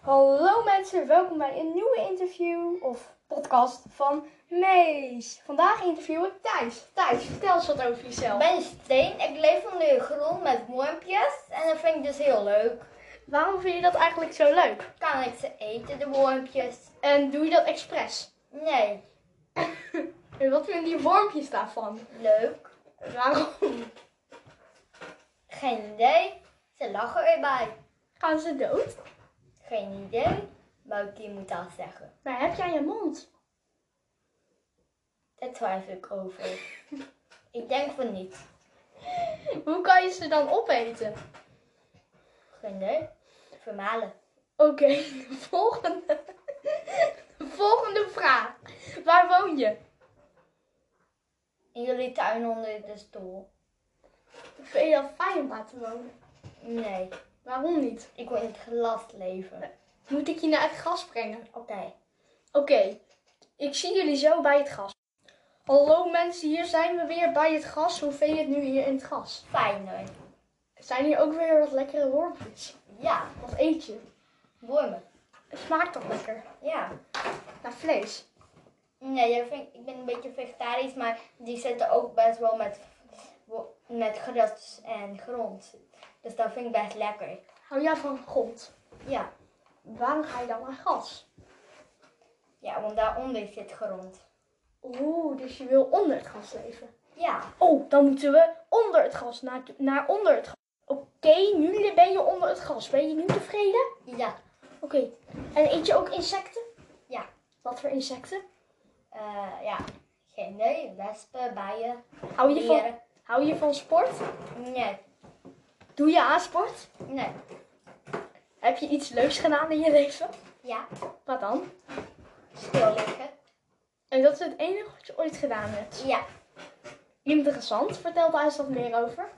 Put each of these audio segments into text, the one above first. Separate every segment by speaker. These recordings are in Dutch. Speaker 1: Hallo mensen, welkom bij een nieuwe interview of podcast van Mees. Vandaag interview ik Thijs. Thijs, vertel eens wat over
Speaker 2: Ik
Speaker 1: jezelf.
Speaker 2: ben Steen, ik leef onder de grond met wormpjes en dat vind ik dus heel leuk.
Speaker 1: Waarom vind je dat eigenlijk zo leuk?
Speaker 2: Kan ik ze eten, de wormpjes?
Speaker 1: En doe je dat expres?
Speaker 2: Nee,
Speaker 1: En wat vinden die wormpjes daarvan?
Speaker 2: leuk.
Speaker 1: Waarom?
Speaker 2: Geen idee. Ze lachen erbij.
Speaker 1: Gaan ze dood?
Speaker 2: Geen idee. Buikje moet dat zeggen.
Speaker 1: Maar heb jij een mond?
Speaker 2: Daar twijfel ik over. ik denk van niet.
Speaker 1: Hoe kan je ze dan opeten?
Speaker 2: Geen idee. Vermalen.
Speaker 1: Oké, de volgende. De volgende vraag. Waar woon je?
Speaker 2: In jullie tuin onder de stoel?
Speaker 1: Vind je dat fijn om daar te wonen?
Speaker 2: Nee,
Speaker 1: Waarom niet?
Speaker 2: ik wil in het glas leven.
Speaker 1: Moet ik je naar het gas brengen?
Speaker 2: Oké.
Speaker 1: Oké, ik zie jullie zo bij het gas. Hallo mensen, hier zijn we weer bij het gas. Hoe vind je het nu hier in het gas?
Speaker 2: Fijner.
Speaker 1: Zijn hier ook weer wat lekkere wormpjes?
Speaker 2: Ja,
Speaker 1: Wat eet je?
Speaker 2: wormen.
Speaker 1: Het smaakt toch lekker?
Speaker 2: Ja.
Speaker 1: Naar vlees.
Speaker 2: Nee, dat vind ik, ik ben een beetje vegetarisch, maar die zitten ook best wel met, wo- met gras en grond. Dus dat vind ik best lekker.
Speaker 1: Hou jij van grond?
Speaker 2: Ja,
Speaker 1: Waarom ga je dan naar gas?
Speaker 2: ja want daaronder zit grond.
Speaker 1: Oeh, dus je wil onder het gas leven.
Speaker 2: Ja,
Speaker 1: Oh, dan moeten we onder het gas, naar, naar onder het gas. Oké, nu ben je onder het gas. Ben je nu tevreden?
Speaker 2: ja.
Speaker 1: Oké, en eet je ook insecten?
Speaker 2: Ja.
Speaker 1: Wat voor insecten?
Speaker 2: Eh, ja, geen idee. Wespen, bijen,
Speaker 1: Hou je, van,
Speaker 2: dieren.
Speaker 1: hou je van sport?
Speaker 2: Nee,
Speaker 1: Doe je aan sport?
Speaker 2: nee.
Speaker 1: Heb je iets leuks gedaan in je leven?
Speaker 2: Ja,
Speaker 1: Wat dan?
Speaker 2: stil liggen.
Speaker 1: En dat is het enige wat je ooit gedaan hebt.
Speaker 2: Ja,
Speaker 1: Interessant, vertel daar eens wat meer over.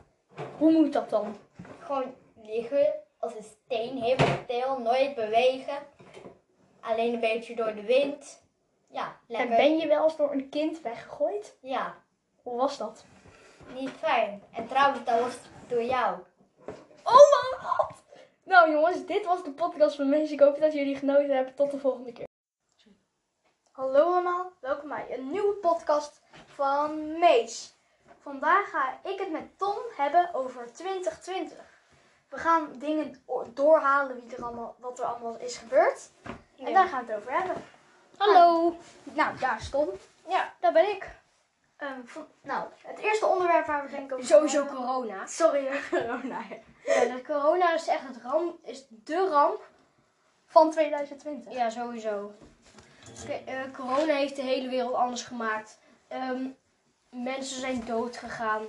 Speaker 1: Hoe moet dat dan?
Speaker 2: gewoon liggen als een steen, helemaal stil, nooit bewegen. Alleen een beetje door de wind. Ja,
Speaker 1: En
Speaker 2: lekker.
Speaker 1: ben je wel eens door een kind weggegooid?
Speaker 2: Ja.
Speaker 1: Hoe was dat?
Speaker 2: Niet fijn. En trouwens, dat was door jou.
Speaker 1: Oh mijn god! Nou jongens, dit was de podcast van mensen. Ik hoop dat jullie genoten hebben. Tot de volgende keer. Hallo allemaal, welkom bij een nieuwe podcast van Mees. Vandaag ga ik het met Tom hebben over 2020. We gaan dingen doorhalen wie er allemaal, wat er allemaal is gebeurd. En daar gaan we het over hebben.
Speaker 2: Hallo.
Speaker 1: Nou, daar is Tom.
Speaker 2: Ja.
Speaker 1: Daar ben ik. Ehm, van- nou, het eerste onderwerp waar we denk ik over
Speaker 3: Sowieso
Speaker 1: gaan
Speaker 3: corona.
Speaker 1: hebben- Sorry, corona.
Speaker 3: Ja, dat corona is echt het ramp, is de ramp.
Speaker 1: Van 2020.
Speaker 3: Ja, sowieso. Oké, eh, corona heeft de hele wereld anders gemaakt. Ehm, mensen zijn dood gegaan.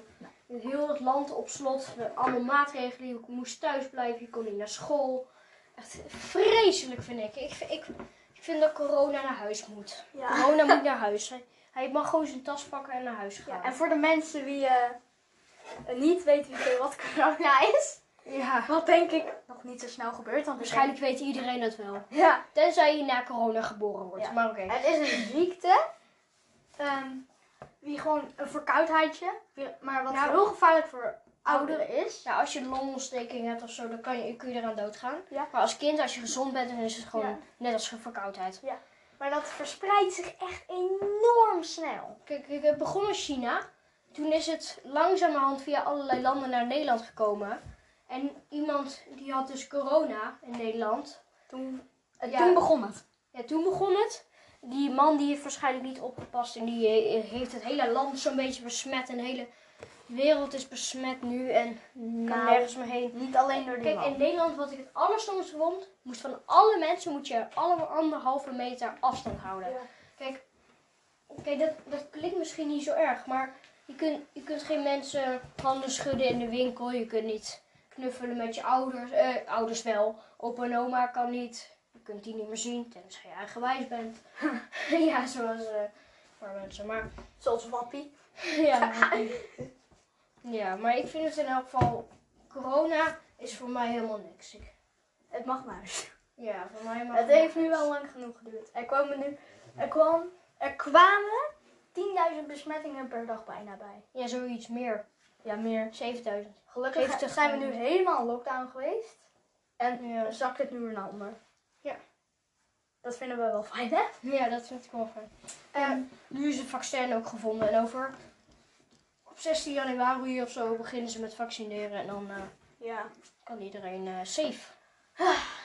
Speaker 3: Heel het land op slot. We- Allemaal maatregelen. Je moest thuis blijven. Je kon niet naar school. Echt vreselijk vind ik. Ik, vind- ik, ik vind dat corona naar huis moet.
Speaker 1: Ja.
Speaker 3: Corona moet naar huis. Hij, hij mag gewoon zijn tas pakken en naar huis gaan.
Speaker 1: Ja, en voor de mensen die eh, niet weten wie- wat corona is,
Speaker 3: Ja,
Speaker 1: wat denk ik nog niet zo snel gebeurt. Want
Speaker 3: waarschijnlijk weet iedereen dat wel.
Speaker 1: Ja,
Speaker 3: Tenzij je na corona geboren wordt.
Speaker 1: Ja.
Speaker 3: Maar oké.
Speaker 1: het is een ziekte. ehm, die gewoon een verkoudheidje, weer- maar wat
Speaker 3: Nou.
Speaker 1: heel gevaarlijk voor ouderen is.
Speaker 3: Ja, als je longontsteking hebt of zo, dan kan je, kun je eraan doodgaan.
Speaker 1: Ja.
Speaker 3: Maar als kind, als je gezond bent, dan is het gewoon
Speaker 1: Ja.
Speaker 3: net als een verkoudheid.
Speaker 1: Maar dat verspreidt zich echt enorm snel.
Speaker 3: Kijk, ik heb begonnen in China. Toen is het langzamerhand via allerlei landen naar Nederland gekomen. En iemand die had dus corona in Nederland.
Speaker 1: Toen,
Speaker 3: en toen
Speaker 1: begon het.
Speaker 3: Ja, toen begon het. Die man die heeft waarschijnlijk niet opgepast en die eh, heeft het hele land zo'n beetje besmet. En de hele wereld is besmet nu en kan
Speaker 1: Nou,
Speaker 3: nergens meer heen.
Speaker 1: niet alleen door die
Speaker 3: Kijk,
Speaker 1: man.
Speaker 3: in Nederland wat ik het allerstomste vond, moest van alle mensen moet je allemaal anderhalve meter afstand houden.
Speaker 1: Ja.
Speaker 3: Kijk, kijk dat, dat klinkt misschien niet zo erg, maar je, kunt je kunt geen mensen handen schudden in de winkel. Je kunt niet knuffelen met je ouders. Eh, ouders wel. Opa en oma kan niet. Je kunt die niet meer zien, tenzij je eigenwijs bent. ja, zoals eh voor mensen. Maar
Speaker 1: Zoals Wappie.
Speaker 3: ja. ja, maar ik vind het in elk geval... Corona is voor mij helemaal niks. Ik-
Speaker 1: Het mag maar eens.
Speaker 3: ja, voor mij mag
Speaker 1: Het heeft nu wel lang genoeg geduurd. Er kwamen nu, er kwam, er kwamen 10.000 besmettingen per dag bijna bij.
Speaker 3: Ja, zoiets meer.
Speaker 1: Ja, meer.
Speaker 3: 7000.
Speaker 1: Gelukkig
Speaker 3: 70
Speaker 1: zijn we nu helemaal in lockdown geweest. En
Speaker 3: Ja.
Speaker 1: zakt het nu weer naar onder.
Speaker 3: Ja.
Speaker 1: Dat vinden we wel fijn, hè?
Speaker 3: Ja, dat vind ik wel fijn. En nu is het vaccin ook gevonden. En over op 16 januari of zo beginnen ze met vaccineren. En dan eh,
Speaker 1: Ja.
Speaker 3: kan iedereen eh, safe.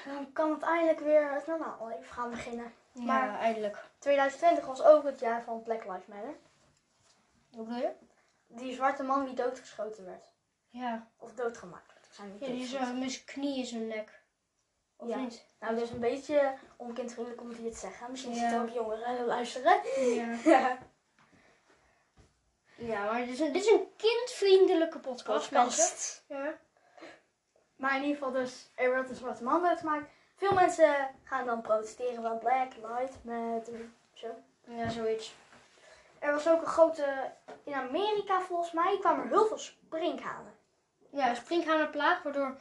Speaker 1: Dan kan het eindelijk weer eh, het normaal leven oh, gaan beginnen. Maar-
Speaker 3: ja, eindelijk.
Speaker 1: 2020 was ook het jaar van Black Lives Matter.
Speaker 3: Hoe bedoel je?
Speaker 1: Die zwarte man die doodgeschoten werd.
Speaker 3: Ja,
Speaker 1: Of doodgemaakt werd. Ik zei niet
Speaker 3: ja die is
Speaker 1: doodgeschoten.
Speaker 3: eh, met zijn knie in zijn nek. Of
Speaker 1: Ja.
Speaker 3: niet?
Speaker 1: Nou, dat is een beetje onkindvriendelijk om die het te zeggen. Misschien
Speaker 3: Ja.
Speaker 1: zitten ook jongeren te luisteren.
Speaker 3: Ja.
Speaker 1: Ja.
Speaker 3: Ja, maar dit is een, dit is een kindvriendelijke podcast, mensen. Ja.
Speaker 1: Maar in ieder geval dus, er werd een zwarte man doodgemaakt. Veel mensen gaan dan protesteren van Black Lives Matter. Zo.
Speaker 3: ja, zoiets.
Speaker 1: Er was ook een grote, in Amerika volgens mij, kwamen er heel veel sprinkhanen.
Speaker 3: Ja, springhanenplaag, waardoor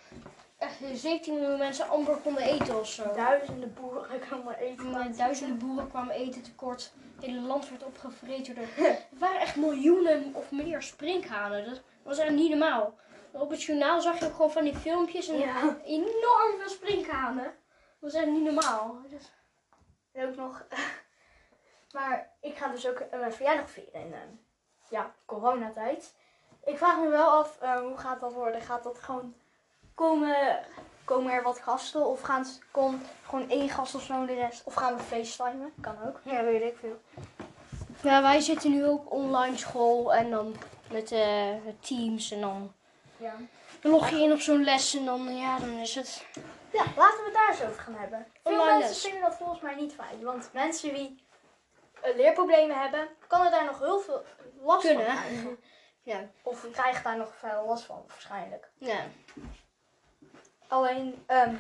Speaker 3: echt 17 miljoen mensen amper konden eten of zo.
Speaker 1: Duizenden boeren kwamen eten.
Speaker 3: Maar duizenden boeren kwamen eten tekort. Het hele land werd opgevreten door de... Het waren echt miljoenen of meer sprinkhanen. Dat was echt niet normaal. Op het journaal zag je ook gewoon van die filmpjes en
Speaker 1: Ja.
Speaker 3: enorm veel sprinkhanen. Dat was echt niet normaal. Dus- Dat-
Speaker 1: En ook nog. maar ik ga dus ook eh, mijn verjaardag vieren in eh, ja, coronatijd. Ik vraag me wel af, eh, hoe gaat dat worden? Gaat dat gewoon komen, komen er wat gasten? Of gaan ze komt gewoon één gast of zo en de rest? Of gaan we facetimen? Kan ook.
Speaker 3: Ja, weet ik veel. Ja, wij zitten nu ook online school en dan met eh, met teams en dan
Speaker 1: Ja.
Speaker 3: dan log je in op zo'n les en dan, ja, dan is het...
Speaker 1: Ja, laten we het daar eens over gaan hebben. Veel
Speaker 3: Online dus.
Speaker 1: mensen
Speaker 3: les.
Speaker 1: vinden dat volgens mij niet fijn. Want mensen die eh, leerproblemen hebben, kan er daar nog heel veel last
Speaker 3: Kunnen.
Speaker 1: van krijgen.
Speaker 3: Ja.
Speaker 1: Of krijgen daar nog veel last van, waarschijnlijk.
Speaker 3: Ja.
Speaker 1: Alleen, ehm,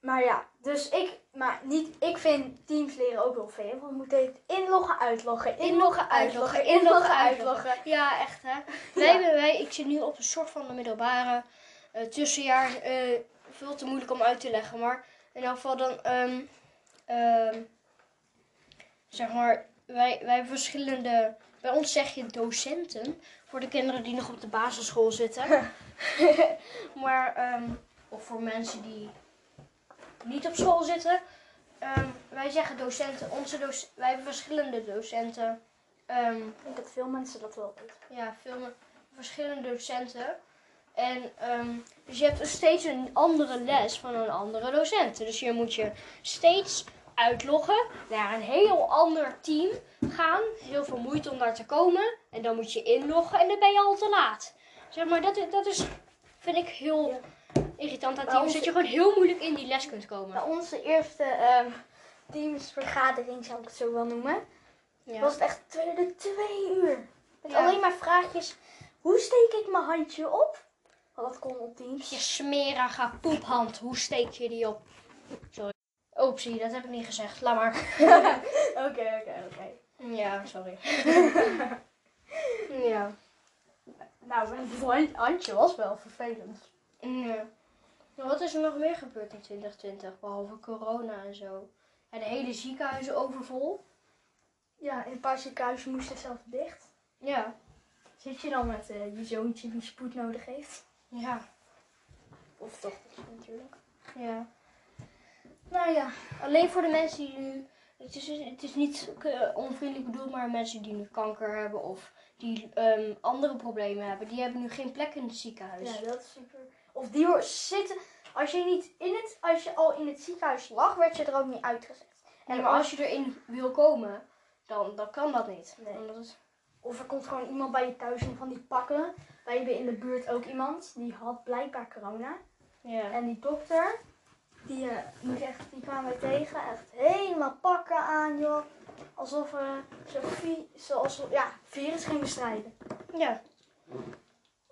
Speaker 1: maar ja, dus ik, maar niet, ik vind teams leren ook wel veel. Want we moeten het inloggen, uitloggen, inloggen, uitloggen, inloggen, uitloggen.
Speaker 3: Ja, echt hè. Wij, hebben- wij, ik zit nu op een soort van de middelbare eh, tussenjaar. eh, veel te moeilijk om uit te leggen. Maar in elk geval dan, ehm, ehm, zeg maar, wij, wij hebben verschillende. Bij ons zeg je docenten. Voor de kinderen die nog op de basisschool zitten. maar, ehm, of voor mensen die niet op school zitten. Ehm, wij zeggen docenten. Onze doc- wij hebben verschillende docenten. Ehm,
Speaker 1: Ik denk dat veel mensen dat wel doen.
Speaker 3: ja, veel met verschillende docenten. En ehm, dus je hebt steeds een andere les van een andere docent. Dus je moet je steeds uitloggen naar een heel ander team gaan. Heel veel moeite om daar te komen. En dan moet je inloggen en dan ben je al te laat. Zeg maar, dat, is- dat is, vind ik heel irritant aan
Speaker 1: Maar
Speaker 3: teams.
Speaker 1: onze-
Speaker 3: Dat je gewoon heel moeilijk in die les kunt komen.
Speaker 1: Nou, onze eerste ehm, teamsvergadering, zou ik het zo wel noemen, was
Speaker 3: Ja.
Speaker 1: het echt twee, de twee uur. Met
Speaker 3: Ja.
Speaker 1: alleen maar vraagjes, hoe steek ik mijn handje op? Want dat kon op teams.
Speaker 3: Je smerige poephand, hoe steek je die op? Sorry. Oepsie, dat heb ik niet gezegd. Laat maar.
Speaker 1: Oké, oké, oké.
Speaker 3: Ja, sorry. ja.
Speaker 1: Nou, het hand- handje was wel vervelend.
Speaker 3: ja. Maar Wat is er nog meer gebeurd in 2020, behalve corona en zo? Ja, de hele ziekenhuizen overvol.
Speaker 1: Ja, in een paar ziekenhuizen moest het zelf dicht.
Speaker 3: Ja.
Speaker 1: Zit je dan met eh, je zoontje die spoed nodig heeft?
Speaker 3: Ja.
Speaker 1: Of toch natuurlijk.
Speaker 3: Ja.
Speaker 1: Nou ja,
Speaker 3: Alleen voor de mensen die nu... Het is, het is niet eh, onvriendelijk bedoeld, maar mensen die nu kanker hebben of die ehm, andere problemen hebben, die hebben nu geen plek in het ziekenhuis.
Speaker 1: ja, dat is super. Of die hoor zitten. Als je niet in het, als je al in het ziekenhuis lag, werd je er ook niet uitgezet.
Speaker 3: En maar als je erin wil komen, dan, dan kan dat niet.
Speaker 1: Nee.
Speaker 3: Omdat het-
Speaker 1: Of er komt gewoon iemand bij je thuis om van die pakken. Wij hebben in de buurt ook iemand die had blijkbaar corona.
Speaker 3: ja.
Speaker 1: En die dokter, die, eh, moet echt, die kwamen wij tegen. Echt helemaal pakken aan, joh. Alsof eh, ze, vi- ze alsof, ja, virus ging bestrijden.
Speaker 3: Ja.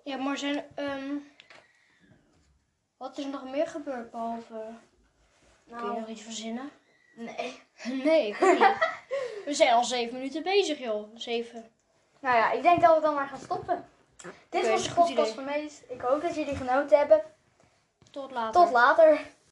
Speaker 3: Ja, maar zijn. ehm, wat is er nog meer gebeurd behalve.
Speaker 1: Nou,
Speaker 3: Kun je nog iets verzinnen?
Speaker 1: nee.
Speaker 3: Nee, ik weet niet. We zijn al zeven minuten bezig, joh. Zeven.
Speaker 1: Nou ja, ik denk dat we dan maar gaan stoppen. Dit
Speaker 3: Oké,
Speaker 1: was
Speaker 3: is
Speaker 1: de
Speaker 3: een goed
Speaker 1: podcast
Speaker 3: idee.
Speaker 1: van Mees. Ik hoop dat jullie genoten hebben.
Speaker 3: Tot later.
Speaker 1: Tot later.